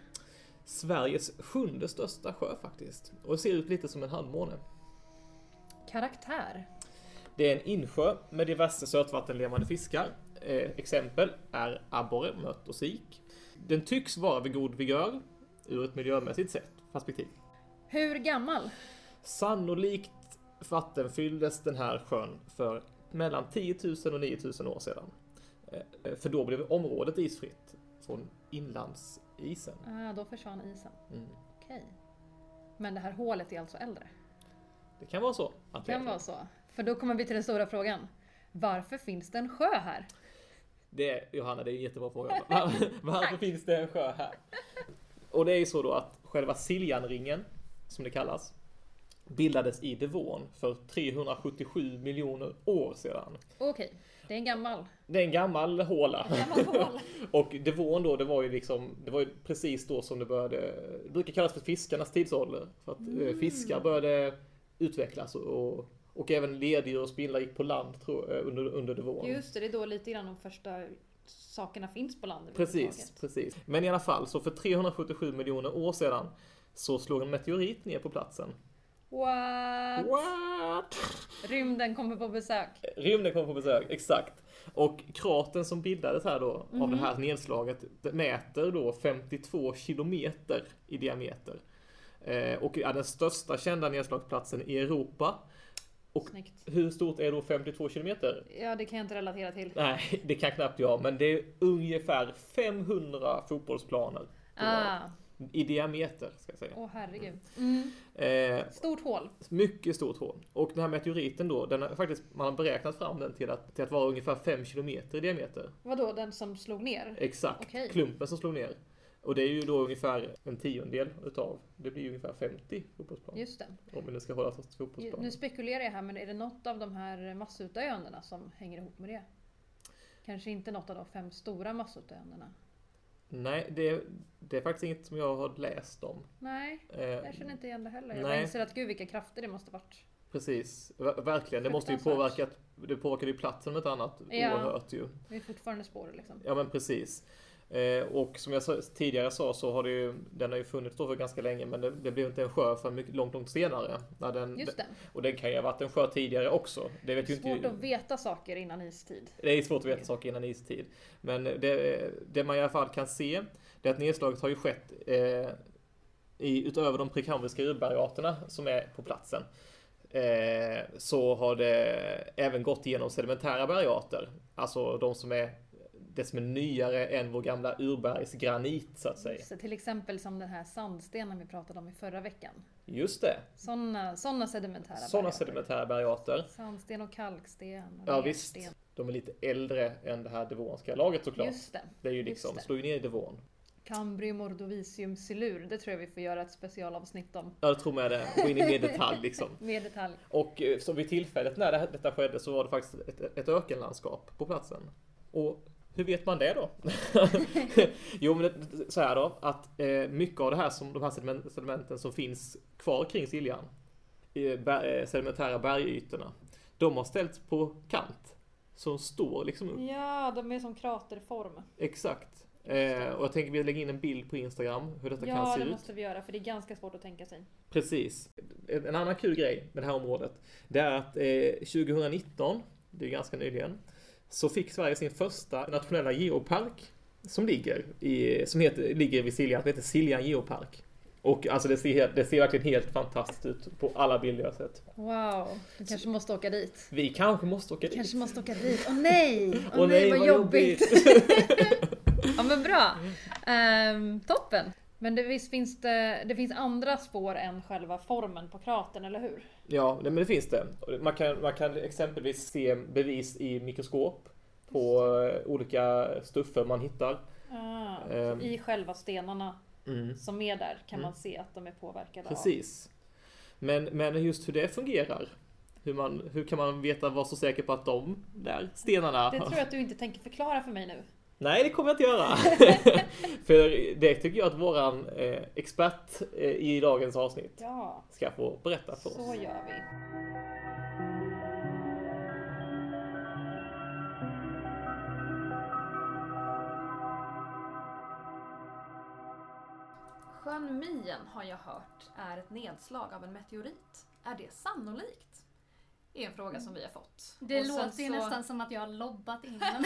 [SPEAKER 8] Sveriges sjunde största sjö faktiskt. Och ser ut lite som en handmåne.
[SPEAKER 2] Karaktär.
[SPEAKER 8] Det är en insjö med diverse sötvattenlevande fiskar. Eh, exempel är abborre, mört och sik. Den tycks vara vid god vigör ur ett miljömässigt sett perspektiv.
[SPEAKER 2] Hur gammal?
[SPEAKER 8] Sannolikt vattenfylldes den här sjön för mellan 10 000 och 9 000 år sedan. Eh, För då blev området isfritt från inlandsisen.
[SPEAKER 2] Ah, då försvann isen.
[SPEAKER 8] Mm.
[SPEAKER 2] Okej. Men det här hålet är alltså äldre?
[SPEAKER 8] Det kan vara så. Att
[SPEAKER 2] Det kan
[SPEAKER 8] är-
[SPEAKER 2] vara så. För då kommer vi till den stora frågan. Varför finns det en sjö här?
[SPEAKER 1] Det, Johanna, det är en jättebra fråga. Var, varför finns det en sjö här? Och det är ju så då att själva Siljanringen, som det kallas, bildades i Devon för 377 miljoner år sedan.
[SPEAKER 9] Okej, det är en gammal.
[SPEAKER 1] Det är en gammal håla.
[SPEAKER 9] gammal hål.
[SPEAKER 1] Och Devon då, det var ju liksom, det var ju precis då som det började, det brukar kallas för fiskarnas tidsålder. För att mm. fiskar började utvecklas och, och, och även leddjur och spindlar gick på land tror, jag, under, under Devon.
[SPEAKER 2] Just det, det är då lite grann de första sakerna finns på landet.
[SPEAKER 1] Precis,
[SPEAKER 2] överhuvudtaget.
[SPEAKER 1] precis. Men i alla fall, så för 377 miljoner år sedan så slog en meteorit ner på platsen.
[SPEAKER 9] What?
[SPEAKER 1] What?
[SPEAKER 9] Rymden kommer på besök.
[SPEAKER 1] Rymden kom på besök, exakt. Och kratern som bildades här då, av det här nedslaget, det mäter då 52 kilometer i diameter. Eh, och är den största kända nedslagsplatsen i Europa. Och
[SPEAKER 9] Snyggt.
[SPEAKER 1] hur stort är då 52 kilometer?
[SPEAKER 2] Ja, det kan jag inte relatera till.
[SPEAKER 1] Nej, det kan knappt jag, men det är ungefär 500 fotbollsplaner
[SPEAKER 9] Ah,
[SPEAKER 1] i diameter. ska jag säga.
[SPEAKER 9] åh herregud. Mm.
[SPEAKER 1] Eh,
[SPEAKER 9] Stort hål.
[SPEAKER 1] Mycket stort hål. Och den här meteoriten då, den har faktiskt, man har beräknat fram den till att, till att vara ungefär 5 kilometer i diameter.
[SPEAKER 2] Vadå, den som slog ner?
[SPEAKER 1] Exakt.
[SPEAKER 2] Okej.
[SPEAKER 1] Klumpen som slog ner. Och det är ju då ungefär en tiondel utav, det blir ju ungefär 50 fotbollsplan.
[SPEAKER 9] Just det.
[SPEAKER 1] Om vi nu ska hålla oss till
[SPEAKER 9] Ju-
[SPEAKER 1] fotbollsplan.
[SPEAKER 9] Nu spekulerar jag här, men är det något av de här massutdöendena som hänger ihop med det? Kanske inte något av de fem stora massutdöendena?
[SPEAKER 1] Nej, det, det är faktiskt inget som jag har läst om.
[SPEAKER 9] Nej,
[SPEAKER 1] Eh,
[SPEAKER 9] jag känner inte igen det heller. Jag
[SPEAKER 1] Nej.
[SPEAKER 9] bara inser att gud vilka krafter det måste varit.
[SPEAKER 1] precis, Ver- verkligen. Det måste ju
[SPEAKER 9] Fruktansvärt.
[SPEAKER 1] påverka, det påverkade ju platsen om inte annat
[SPEAKER 9] Ja.
[SPEAKER 1] oerhört ju.
[SPEAKER 9] Det är fortfarande spår liksom.
[SPEAKER 1] Ja men precis. Eh, och som jag sa, tidigare sa så har det ju, den har ju funnits då för ganska länge men det, det blev inte en sjö för mycket, långt, långt senare. När den,
[SPEAKER 9] Just det.
[SPEAKER 1] Och den kan ju ha varit en sjö tidigare också. Det vet ju
[SPEAKER 9] Svårt
[SPEAKER 1] inte...
[SPEAKER 9] att veta saker innan istid.
[SPEAKER 1] Det är svårt att veta saker innan istid. Men det, det man i alla fall kan se, det är att nedslaget har ju skett eh, i, utöver de prekambriska urbergarterna som är på platsen. Eh, så har det även gått igenom sedimentära bergarter. Alltså de som är det som är nyare än vår gamla urbergsgranit så att säga.
[SPEAKER 9] Så till exempel som den här sandstenen vi pratade om i förra veckan.
[SPEAKER 1] Just det,
[SPEAKER 9] Sådana såna sedimentära
[SPEAKER 1] sådana
[SPEAKER 9] bergarter.
[SPEAKER 1] sedimentära bergarter.
[SPEAKER 9] Sandsten och kalksten. Och
[SPEAKER 1] Ja visst,
[SPEAKER 9] lersten.
[SPEAKER 1] de är lite äldre än det här devonska laget såklart.
[SPEAKER 9] Just det.
[SPEAKER 1] Det är ju
[SPEAKER 9] Just
[SPEAKER 1] liksom,
[SPEAKER 9] det.
[SPEAKER 1] slog ju ner i devon.
[SPEAKER 9] Cambrium ordovisium silur. Det tror jag vi får göra ett specialavsnitt om.
[SPEAKER 1] Ja, det tror jag det. Gå in i mer detalj liksom.
[SPEAKER 9] Mer detalj.
[SPEAKER 1] Och eh, så vid tillfället när det här, detta skedde så var det faktiskt ett, ett ökenlandskap på platsen. Och hur vet man det då? jo, men det- så här då, att eh, mycket av det här som, de här sediment- sedimenten som finns kvar kring Siljan, eh, ber, eh, sedimentära bergytorna, de har ställts på kant. Som står liksom upp.
[SPEAKER 2] Ja, de är som kraterform.
[SPEAKER 1] Exakt. Eh, och jag tänker vi lägger in en bild på Instagram hur detta kan
[SPEAKER 2] Ja,
[SPEAKER 1] se
[SPEAKER 2] det
[SPEAKER 1] ut.
[SPEAKER 2] måste vi göra för det är ganska svårt att tänka sig.
[SPEAKER 1] Precis. En en annan kul grej med det här området, det är att eh, 2019, det är ju ganska nyligen, så fick Sverige sin första nationella geopark som ligger, i, som heter, ligger vid Siljan, som heter Siljan geopark. Och alltså det ser, helt- det ser verkligen helt fantastiskt ut på alla bilder jag har sett.
[SPEAKER 9] Wow, vi kanske måste åka dit.
[SPEAKER 1] Vi kanske måste åka dit.
[SPEAKER 9] Kanske måste åka dit. Åh nej! Åh
[SPEAKER 1] Åh
[SPEAKER 9] nej, vad jobbigt! Mm. Ja men bra! Ehm, toppen! Men det, visst finns det, det finns andra spår än själva formen på kratern, eller hur?
[SPEAKER 1] Ja, nej, men det finns det. Och det- Man kan, man kan exempelvis se bevis i mikroskop på eh, olika stuffer man hittar.
[SPEAKER 2] Ah,
[SPEAKER 1] Ehm.
[SPEAKER 2] så I själva stenarna
[SPEAKER 1] Mm.
[SPEAKER 2] som är där kan
[SPEAKER 1] Mm.
[SPEAKER 2] man se att de är påverkade av.
[SPEAKER 1] Precis. Men, men just hur det fungerar. Hur, man, hur kan man veta, vara så säker på att de där stenarna...
[SPEAKER 2] Det tror jag att du inte tänker förklara för mig nu.
[SPEAKER 1] Nej, det kommer jag inte göra. För det tycker jag att våran eh, expert eh, i dagens avsnitt
[SPEAKER 2] Ja,
[SPEAKER 1] ska få berätta för
[SPEAKER 2] så
[SPEAKER 1] oss.
[SPEAKER 2] gör vi.
[SPEAKER 6] Sjön Mien har jag hört är ett nedslag av en meteorit. Är det sannolikt? Det är en fråga som vi har fått.
[SPEAKER 9] Det
[SPEAKER 6] Och sen
[SPEAKER 9] låter ju nästan
[SPEAKER 6] som att jag har lobbat in den här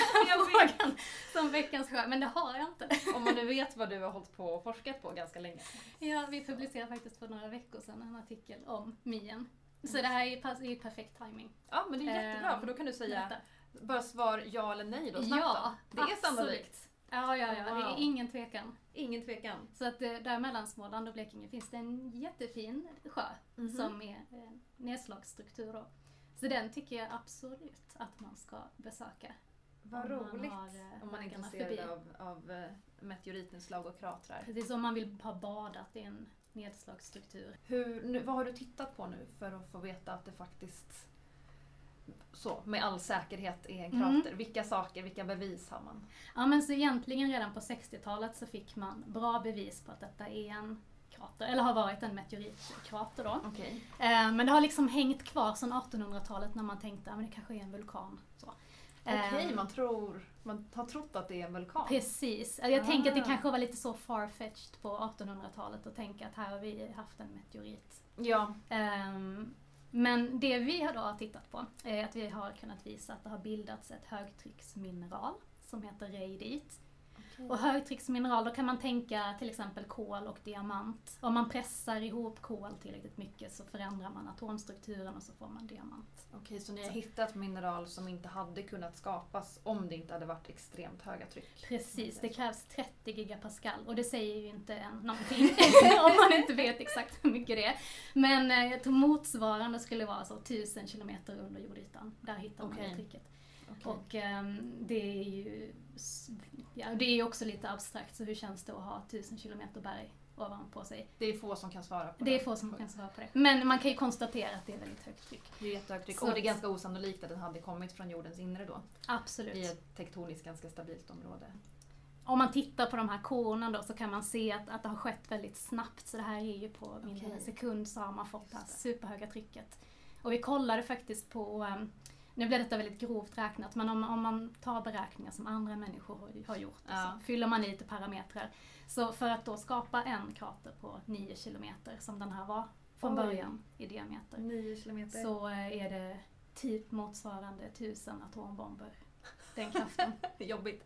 [SPEAKER 6] frågan som veckans sjö, men det har jag inte.
[SPEAKER 9] Om man nu vet vad du har hållit på och forskat på ganska länge.
[SPEAKER 6] Ja, vi publicerade faktiskt för några veckor sedan en artikel om Mien. Så det här är ju pass- är ju perfekt timing.
[SPEAKER 10] Ja men det är jättebra
[SPEAKER 6] Ehm,
[SPEAKER 10] för då kan du säga,
[SPEAKER 6] Detta.
[SPEAKER 10] bara svar ja eller nej då snabbt
[SPEAKER 6] Ja,
[SPEAKER 10] då. Det är
[SPEAKER 6] absolut.
[SPEAKER 10] sannolikt.
[SPEAKER 6] Ja, ja, ja, det är
[SPEAKER 10] Wow.
[SPEAKER 6] ingen tvekan.
[SPEAKER 10] Ingen tvekan.
[SPEAKER 6] Så att eh, där mellan Småland och Blekinge finns det en jättefin sjö
[SPEAKER 10] Mhm.
[SPEAKER 6] som är eh, nedslagsstruktur då. Så den tycker jag absolut att man ska besöka.
[SPEAKER 2] Vad
[SPEAKER 6] Om man
[SPEAKER 2] roligt
[SPEAKER 6] har, eh,
[SPEAKER 2] om man är
[SPEAKER 6] vägarna
[SPEAKER 2] intresserad
[SPEAKER 6] förbi.
[SPEAKER 2] av, av eh, meteoritnedslag och kratrar.
[SPEAKER 6] Precis om man vill ha badat i en nedslagsstruktur.
[SPEAKER 2] Hur, nu, vad har du tittat på nu för att få veta att det faktiskt så, med all säkerhet är en krater? Vilka saker, vilka bevis har man?
[SPEAKER 6] Ja men så egentligen redan på 60-talet så fick man bra bevis på att detta är en krater, eller har varit en meteoritkrater då.
[SPEAKER 2] Okej.
[SPEAKER 6] Eh, Men det har liksom hängt kvar sedan 1800-talet när man tänkte att det kanske är en vulkan. Så.
[SPEAKER 2] Okej,
[SPEAKER 6] Eh,
[SPEAKER 2] man, tror, man har trott att det är en vulkan.
[SPEAKER 6] Precis. Alltså Jag tänker att det
[SPEAKER 2] Ah.
[SPEAKER 6] kanske var lite så farfetched på 1800-talet att tänka att här har vi haft en meteorit.
[SPEAKER 2] Ja.
[SPEAKER 6] Ehm, men det vi har då har tittat på är att vi har kunnat visa att det har bildats ett högtrycksmineral som heter radit. Och högtrycksmineral, då kan man tänka till exempel kol och diamant. Om man pressar ihop kol tillräckligt mycket så förändrar man atomstrukturen och så får man diamant.
[SPEAKER 2] Okej, så ni har hittat mineral som inte hade kunnat skapas om det inte hade varit extremt höga tryck?
[SPEAKER 6] Precis, det krävs 30 gigapascal och det säger ju inte en någonting om man inte vet exakt hur mycket det är. Men eh, jag tror motsvarande skulle vara så 1000 kilometer under jordytan. Där hittar man
[SPEAKER 2] Okej.
[SPEAKER 6] det trycket.
[SPEAKER 2] Okej.
[SPEAKER 6] Och ehm, det är ju s- ja, det är ju också lite abstrakt, så hur känns det att ha 1000 kilometer berg ovanpå sig?
[SPEAKER 2] Det är få som kan svara på
[SPEAKER 6] Det är få som kan svara på det. Men man kan ju konstatera att det är väldigt högt tryck.
[SPEAKER 2] Det är jättehögt tryck.
[SPEAKER 6] Så
[SPEAKER 2] Och det är
[SPEAKER 6] att-
[SPEAKER 2] ganska osannolikt att den hade kommit från jordens inre då.
[SPEAKER 6] Absolut.
[SPEAKER 2] I ett tektoniskt ganska stabilt område.
[SPEAKER 6] Om man tittar på de här korna då så kan man se att, att det har skett väldigt snabbt. Så det här är ju på mindre än en
[SPEAKER 2] Okej.
[SPEAKER 6] sekund så har man fått det här
[SPEAKER 2] Just det.
[SPEAKER 6] superhöga trycket. Och vi kollade faktiskt på, ehm, nu blir detta väldigt grovt räknat, men om, om man tar beräkningar som andra människor har- har gjort och
[SPEAKER 2] Ja.
[SPEAKER 6] så fyller man i lite parametrar. Så för att då skapa en krater på 9 kilometer som den här var från
[SPEAKER 2] Oj.
[SPEAKER 6] början i diameter
[SPEAKER 2] 9 kilometer.
[SPEAKER 6] så eh, är det typ motsvarande 1000 atombomber. Den kraften.
[SPEAKER 2] Jobbigt.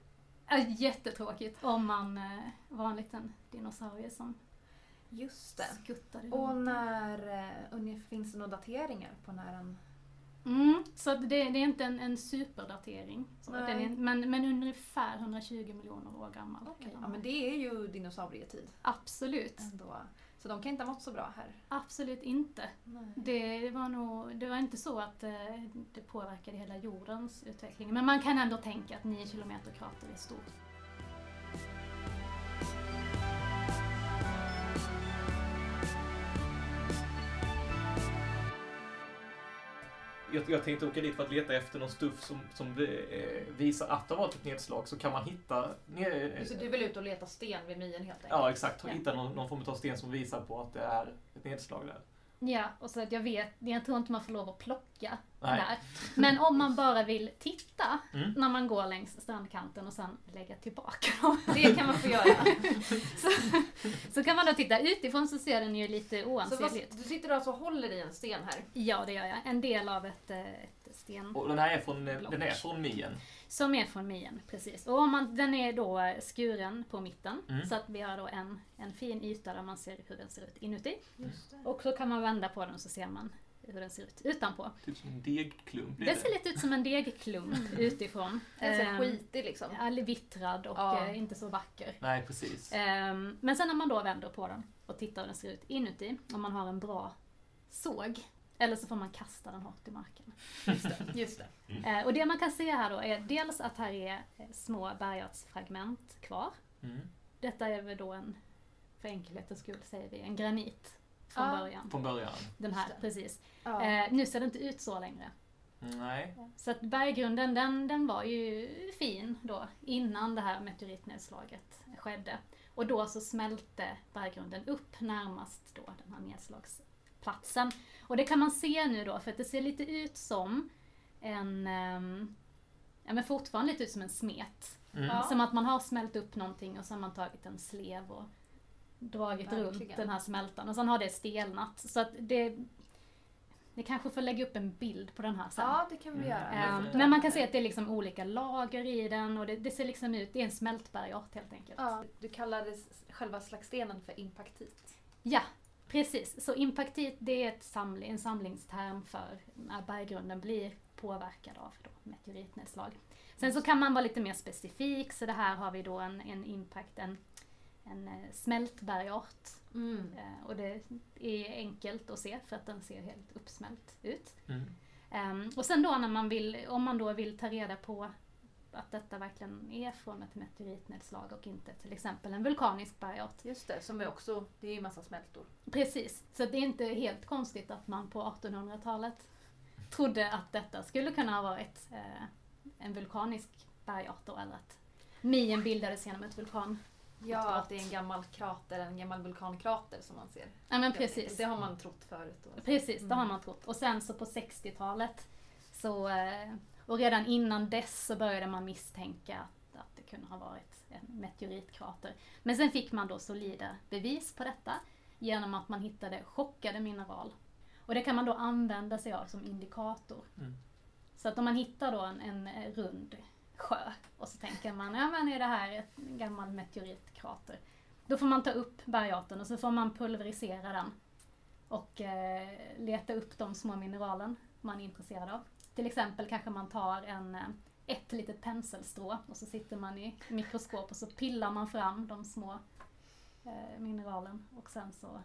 [SPEAKER 6] Ja, Äh, Jättetråkigt om man eh, var en liten dinosaurie som
[SPEAKER 2] Just det.
[SPEAKER 6] skuttade
[SPEAKER 2] Och
[SPEAKER 6] runt.
[SPEAKER 2] när, eh, ungefär- finns det några dateringar på när den...
[SPEAKER 6] Mm, så att det, det är inte en, en superdatering. Så
[SPEAKER 2] Nej.
[SPEAKER 6] den är, men, men ungefär 120 miljoner år gammal. är den
[SPEAKER 2] Ja
[SPEAKER 6] här.
[SPEAKER 2] men det Mm. är ju dinosaurietid
[SPEAKER 6] Absolut,
[SPEAKER 2] ändå. Så de kan inte ha mått så bra här.
[SPEAKER 6] absolut inte.
[SPEAKER 2] Nej.
[SPEAKER 6] Det var, nog, det var inte så att eh, det påverkade hela jordens utveckling. Men man kan ändå tänka att 9 kilometer krater är stort.
[SPEAKER 1] Jag, jag tänkte åka dit för att leta efter någon stuff som, som eh, visar att det har varit ett nedslag så kan man hitta... Ne-
[SPEAKER 2] Så du vill ut och leta sten vid myen helt enkelt?
[SPEAKER 1] ja, exakt.
[SPEAKER 6] Ja.
[SPEAKER 1] Hitta någon, någon form av sten som visar på att det är ett nedslag där.
[SPEAKER 6] Ja, och så att jag vet, jag tror inte man får lov att plocka
[SPEAKER 1] Nej.
[SPEAKER 6] där. Men om man bara vill titta
[SPEAKER 1] Mm.
[SPEAKER 6] när man går längs strandkanten och sen lägga tillbaka dem, det kan man få göra. så, så kan man då titta utifrån så ser den ju lite
[SPEAKER 2] Så vad,
[SPEAKER 6] oansenlig ut.
[SPEAKER 2] du sitter alltså och håller i en sten här?
[SPEAKER 6] Ja, det gör jag. En del av ett, eh, ett sten
[SPEAKER 1] Och den här är från, eh, den är från Mien.
[SPEAKER 6] som är från mien, precis. Och om man, den är då eh, skuren på mitten,
[SPEAKER 1] Mm.
[SPEAKER 6] så att vi har då en, en fin yta där man ser hur den ser ut inuti. Och så kan man vända på den så ser man hur den ser ut utanpå.
[SPEAKER 11] Typ som en degklump blir
[SPEAKER 6] Den ser
[SPEAKER 11] det.
[SPEAKER 6] lite ut som en degklump
[SPEAKER 2] Mm.
[SPEAKER 6] utifrån.
[SPEAKER 2] Den är så
[SPEAKER 6] Ehm,
[SPEAKER 2] här skitig liksom.
[SPEAKER 6] ja, vittrad och
[SPEAKER 2] Ja.
[SPEAKER 6] eh, inte så vacker.
[SPEAKER 1] Nej, precis.
[SPEAKER 6] Ehm, men sen när man då vänder på den och tittar hur den ser ut inuti, om man har en bra såg, eller så får man kasta den hårt i marken.
[SPEAKER 2] Just det.
[SPEAKER 6] Eh, och det man kan se här då är dels att här är eh, små bergartsfragment kvar.
[SPEAKER 1] Mm.
[SPEAKER 6] Detta är väl då en, för enkelhetens skull säger vi, en granit från
[SPEAKER 2] Ja.
[SPEAKER 6] början.
[SPEAKER 1] Från början.
[SPEAKER 6] Den här,
[SPEAKER 2] Just det.
[SPEAKER 6] precis.
[SPEAKER 2] Ja.
[SPEAKER 6] Eh, nu ser det inte ut så längre.
[SPEAKER 1] Nej.
[SPEAKER 6] Så att berggrunden den, den var ju fin då innan det här meteoritnedslaget skedde. Och då så smälte berggrunden upp närmast då den här nedslagsplatsen. Och det kan man se nu då för att det ser lite ut som en, ehm, ja men fortfarande lite ut som en smet.
[SPEAKER 1] Mm.
[SPEAKER 2] Ja.
[SPEAKER 6] Som att man har smält upp någonting och så har man tagit en slev och dragit runt
[SPEAKER 2] Verkligen.
[SPEAKER 6] den här smältan och sen har det stelnat. Så att det, ni kanske får lägga upp en bild på den här sen.
[SPEAKER 2] ja, det kan vi göra.
[SPEAKER 6] Ehm,
[SPEAKER 1] Mm.
[SPEAKER 6] Men man kan se att det är liksom olika lager i den och det, det ser liksom ut, det är en smältbergart helt enkelt.
[SPEAKER 2] Ja. Du kallade s- själva slagstenen för impaktit.
[SPEAKER 6] Ja, precis. Så impaktit det är ett samling, en samlingsterm för när berggrunden blir påverkad av då meteoritnedslag. Sen så kan man vara lite mer specifik, så det här har vi då en, en impact, en, en eh, smältbergart.
[SPEAKER 2] Mm.
[SPEAKER 6] Eh, Och det är enkelt att se för att den ser helt uppsmält ut.
[SPEAKER 1] Mm.
[SPEAKER 6] Ehm, och sen då när man vill, om man då vill ta reda på att detta verkligen är från ett meteoritnedslag och inte till exempel en vulkanisk bergart.
[SPEAKER 12] Just det, som är också, det är ju en massa smältor.
[SPEAKER 6] Precis, så det är inte helt konstigt att man på 1800-talet trodde att detta skulle kunna ha varit eh, en vulkanisk bergart då, eller att Nien bildades genom ett vulkan.
[SPEAKER 12] Ja, att det är en gammal krater, en gammal vulkankrater som man ser.
[SPEAKER 6] Ja men precis.
[SPEAKER 12] Det har man trott förut. Då.
[SPEAKER 6] Precis, det har man trott. Och sen så på 60-talet så, eh, och redan innan dess så började man misstänka att, att det kunde ha varit en meteoritkrater. Men sen fick man då solida bevis på detta genom att man hittade chockade mineral. Och det kan man då använda sig av som indikator.
[SPEAKER 13] Mm.
[SPEAKER 6] Så att om man hittar då en, en eh, rund sjö och så tänker man, ja men är det här ett gammal meteoritkrater? Då får man ta upp bergarten och så får man pulverisera den och eh, leta upp de små mineralen man är intresserad av. Till exempel kanske man tar en, eh, ett litet penselstrå och så sitter man i mikroskop och så pillar man fram de små eh, mineralen och sen så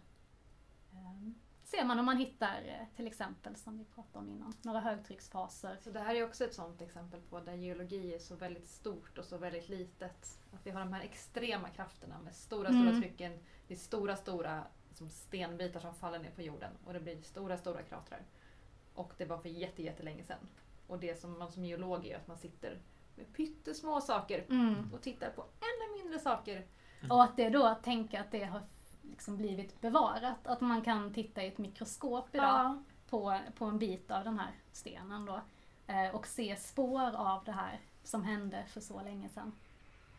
[SPEAKER 6] eh, ser man om man hittar eh, till exempel, som vi pratade om innan, några högtrycksfaser.
[SPEAKER 12] Så det här är också ett sånt exempel på där geologi är så väldigt stort och så väldigt litet. Att vi har de här extrema krafterna med stora, stora
[SPEAKER 6] Mm.
[SPEAKER 12] trycken. Det är stora, stora som stenbitar som faller ner på jorden och det blir stora, stora kratrar. Och det var för jätte, jättelänge sedan. Och det som man som geolog gör är att man sitter med pyttesmå saker
[SPEAKER 6] Mm.
[SPEAKER 12] och tittar på ännu mindre saker.
[SPEAKER 6] Och att det då, att tänka att det har liksom blivit bevarat, att man kan titta i ett mikroskop idag på, på en bit av den här stenen då eh, och se spår av det här som hände för så länge sedan.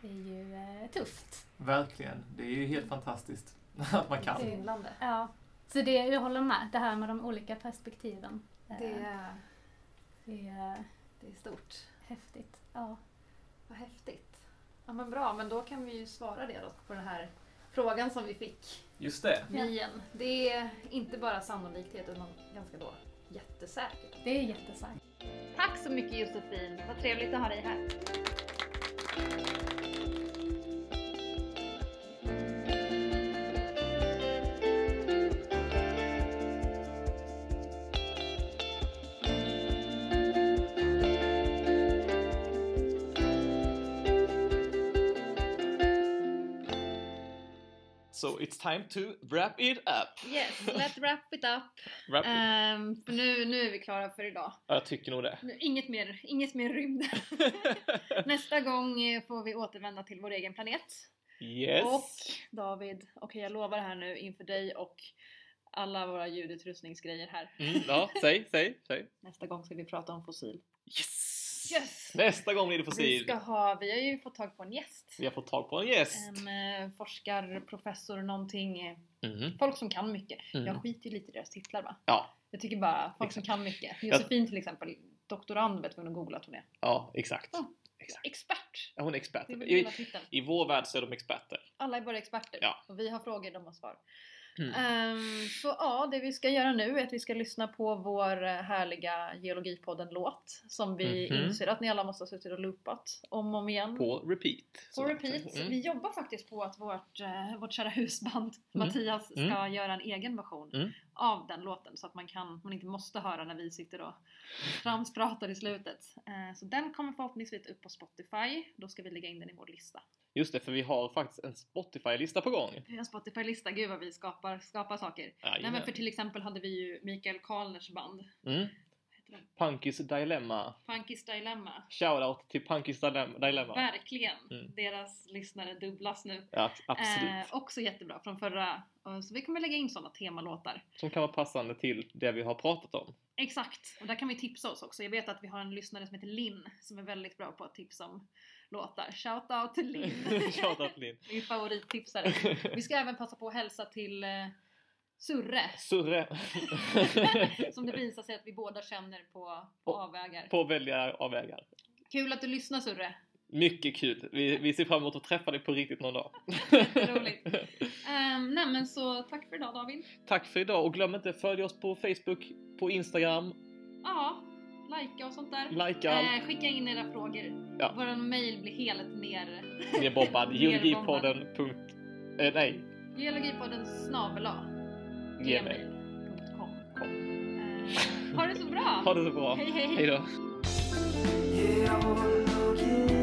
[SPEAKER 6] Det är ju eh, tufft.
[SPEAKER 13] Verkligen. Det är ju helt fantastiskt att man
[SPEAKER 12] Ja,
[SPEAKER 13] kan.
[SPEAKER 12] svindlande.
[SPEAKER 6] Ja. Så det, jag håller med, det här med de olika perspektiven. eh,
[SPEAKER 12] Det är,
[SPEAKER 6] det är eh,
[SPEAKER 12] det är stort.
[SPEAKER 6] häftigt. Ja.
[SPEAKER 12] Vad häftigt. Ja men bra, men då kan vi ju svara det då på den här frågan som vi fick.
[SPEAKER 13] Just det.
[SPEAKER 12] Nien. Det är inte bara sannolikhet utan ganska då jättesäkert.
[SPEAKER 6] Det är jättestarkt.
[SPEAKER 2] Tack så mycket Josefin, vad trevligt att ha dig här.
[SPEAKER 1] So it's time to wrap it up.
[SPEAKER 2] Yes, let's wrap it up.
[SPEAKER 1] Wrap it.
[SPEAKER 2] Ehm, för nu, nu är vi klara för idag.
[SPEAKER 1] Ja, jag tycker nog det.
[SPEAKER 2] Nu, inget, mer, inget mer rymd. Nästa gång eh, får vi återvända till vår egen planet.
[SPEAKER 1] yes.
[SPEAKER 2] Och David, okej jag lovar här nu inför dig och alla våra ljudutrustningsgrejer här.
[SPEAKER 1] Mm, ja, säg, säg, säg.
[SPEAKER 2] Nästa gång ska vi prata om fossil.
[SPEAKER 1] Yes!
[SPEAKER 2] Yes!
[SPEAKER 1] Nästa gång blir det
[SPEAKER 2] Vi,
[SPEAKER 1] fossil.
[SPEAKER 2] ska ha, vi har ju fått tag på en gäst.
[SPEAKER 1] Vi har fått tag på en gäst.
[SPEAKER 2] En eh, forskarprofessor någonting. eh,
[SPEAKER 1] Mm.
[SPEAKER 2] Folk som kan mycket.
[SPEAKER 1] Mm.
[SPEAKER 2] Jag skiter ju lite i deras titlar va?
[SPEAKER 1] Ja.
[SPEAKER 2] Jag tycker bara folk som kan mycket. Josefin till exempel, doktorand vet vi nog googlat hon är.
[SPEAKER 1] Ja, exakt.
[SPEAKER 2] Ja.
[SPEAKER 1] Exakt.
[SPEAKER 2] Expert!
[SPEAKER 1] Ja, Hon är expert.
[SPEAKER 2] Det är väl
[SPEAKER 1] I,
[SPEAKER 2] hela titeln.
[SPEAKER 1] I vår värld så är de experter.
[SPEAKER 2] Alla är bara experter.
[SPEAKER 1] Ja.
[SPEAKER 2] Och vi har frågor, de har svar.
[SPEAKER 1] Mm.
[SPEAKER 2] Ehm, så ja, det vi ska göra nu är att vi ska lyssna på vår eh, härliga Geologipodden-låt. Som vi
[SPEAKER 1] Mhm.
[SPEAKER 2] inser att ni alla måste ha suttit och loopat om och om igen.
[SPEAKER 1] På repeat.
[SPEAKER 2] På
[SPEAKER 1] Så-
[SPEAKER 2] repeat.
[SPEAKER 1] Mm.
[SPEAKER 2] Vi jobbar faktiskt på att vårt, eh, vårt kära husband
[SPEAKER 1] Mm.
[SPEAKER 2] Mattias ska
[SPEAKER 1] Mm.
[SPEAKER 2] göra en egen version
[SPEAKER 1] Mm.
[SPEAKER 2] av den låten så att man, kan, man inte måste höra när vi sitter och tramspratar i slutet. Eh, så den kommer förhoppningsvis upp på Spotify. Då ska vi lägga in den i vår lista.
[SPEAKER 1] Just det, för vi har faktiskt en Spotify-lista på gång.
[SPEAKER 2] Vi har en Spotify-lista, gud vad vi skapar, skapar saker. Nej men
[SPEAKER 1] Jajamän.
[SPEAKER 2] för till exempel hade vi ju Mikael Karlners band.
[SPEAKER 1] Mm.
[SPEAKER 2] Vad heter de?
[SPEAKER 1] Punkis Dilemma.
[SPEAKER 2] Funkis Dilemma.
[SPEAKER 1] Shoutout till Punkis Dilem- Dilemma.
[SPEAKER 2] Verkligen!
[SPEAKER 1] Mm.
[SPEAKER 2] Deras lyssnare dubblas nu.
[SPEAKER 1] Ja, absolut.
[SPEAKER 2] Eh, också jättebra från förra. eh, Så vi kommer lägga in sådana temalåtar.
[SPEAKER 1] Som kan vara passande till det vi har pratat om.
[SPEAKER 2] Exakt! Och där kan vi tipsa oss också. Jag vet att vi har en lyssnare som heter Linn som är väldigt bra på att tipsa om låtar. Shout out till Linn!
[SPEAKER 1] Shoutout Linn.
[SPEAKER 2] Min favorittipsare. Vi ska även passa på att hälsa till eh, Surre
[SPEAKER 1] Surre.
[SPEAKER 2] som det visar sig att vi båda känner på, på
[SPEAKER 1] På-
[SPEAKER 2] avvägar.
[SPEAKER 1] på välja avvägar.
[SPEAKER 2] Kul att du lyssnar Surre!
[SPEAKER 1] Mycket kul. Vi, vi ser fram emot att träffa dig på riktigt någon dag.
[SPEAKER 2] Jätteroligt. Um, nej men så tack för idag David.
[SPEAKER 1] Tack för idag och glöm inte följ oss på Facebook, på Instagram,
[SPEAKER 2] Ja, likea och sånt där.
[SPEAKER 1] likea allt.
[SPEAKER 2] Eh, skicka in era frågor.
[SPEAKER 1] Ja.
[SPEAKER 2] Vår mail blir helt ner.
[SPEAKER 1] Ni är bombad.
[SPEAKER 2] Nerbombad.
[SPEAKER 1] Geologipodden. punkt- Eh, nej.
[SPEAKER 2] Geologipodden snabela
[SPEAKER 1] Gmail.
[SPEAKER 2] gmail.com. Eh, ha det så bra!
[SPEAKER 1] Ha det så bra.
[SPEAKER 2] Hej hej!
[SPEAKER 1] Hej då.
[SPEAKER 14] Geologi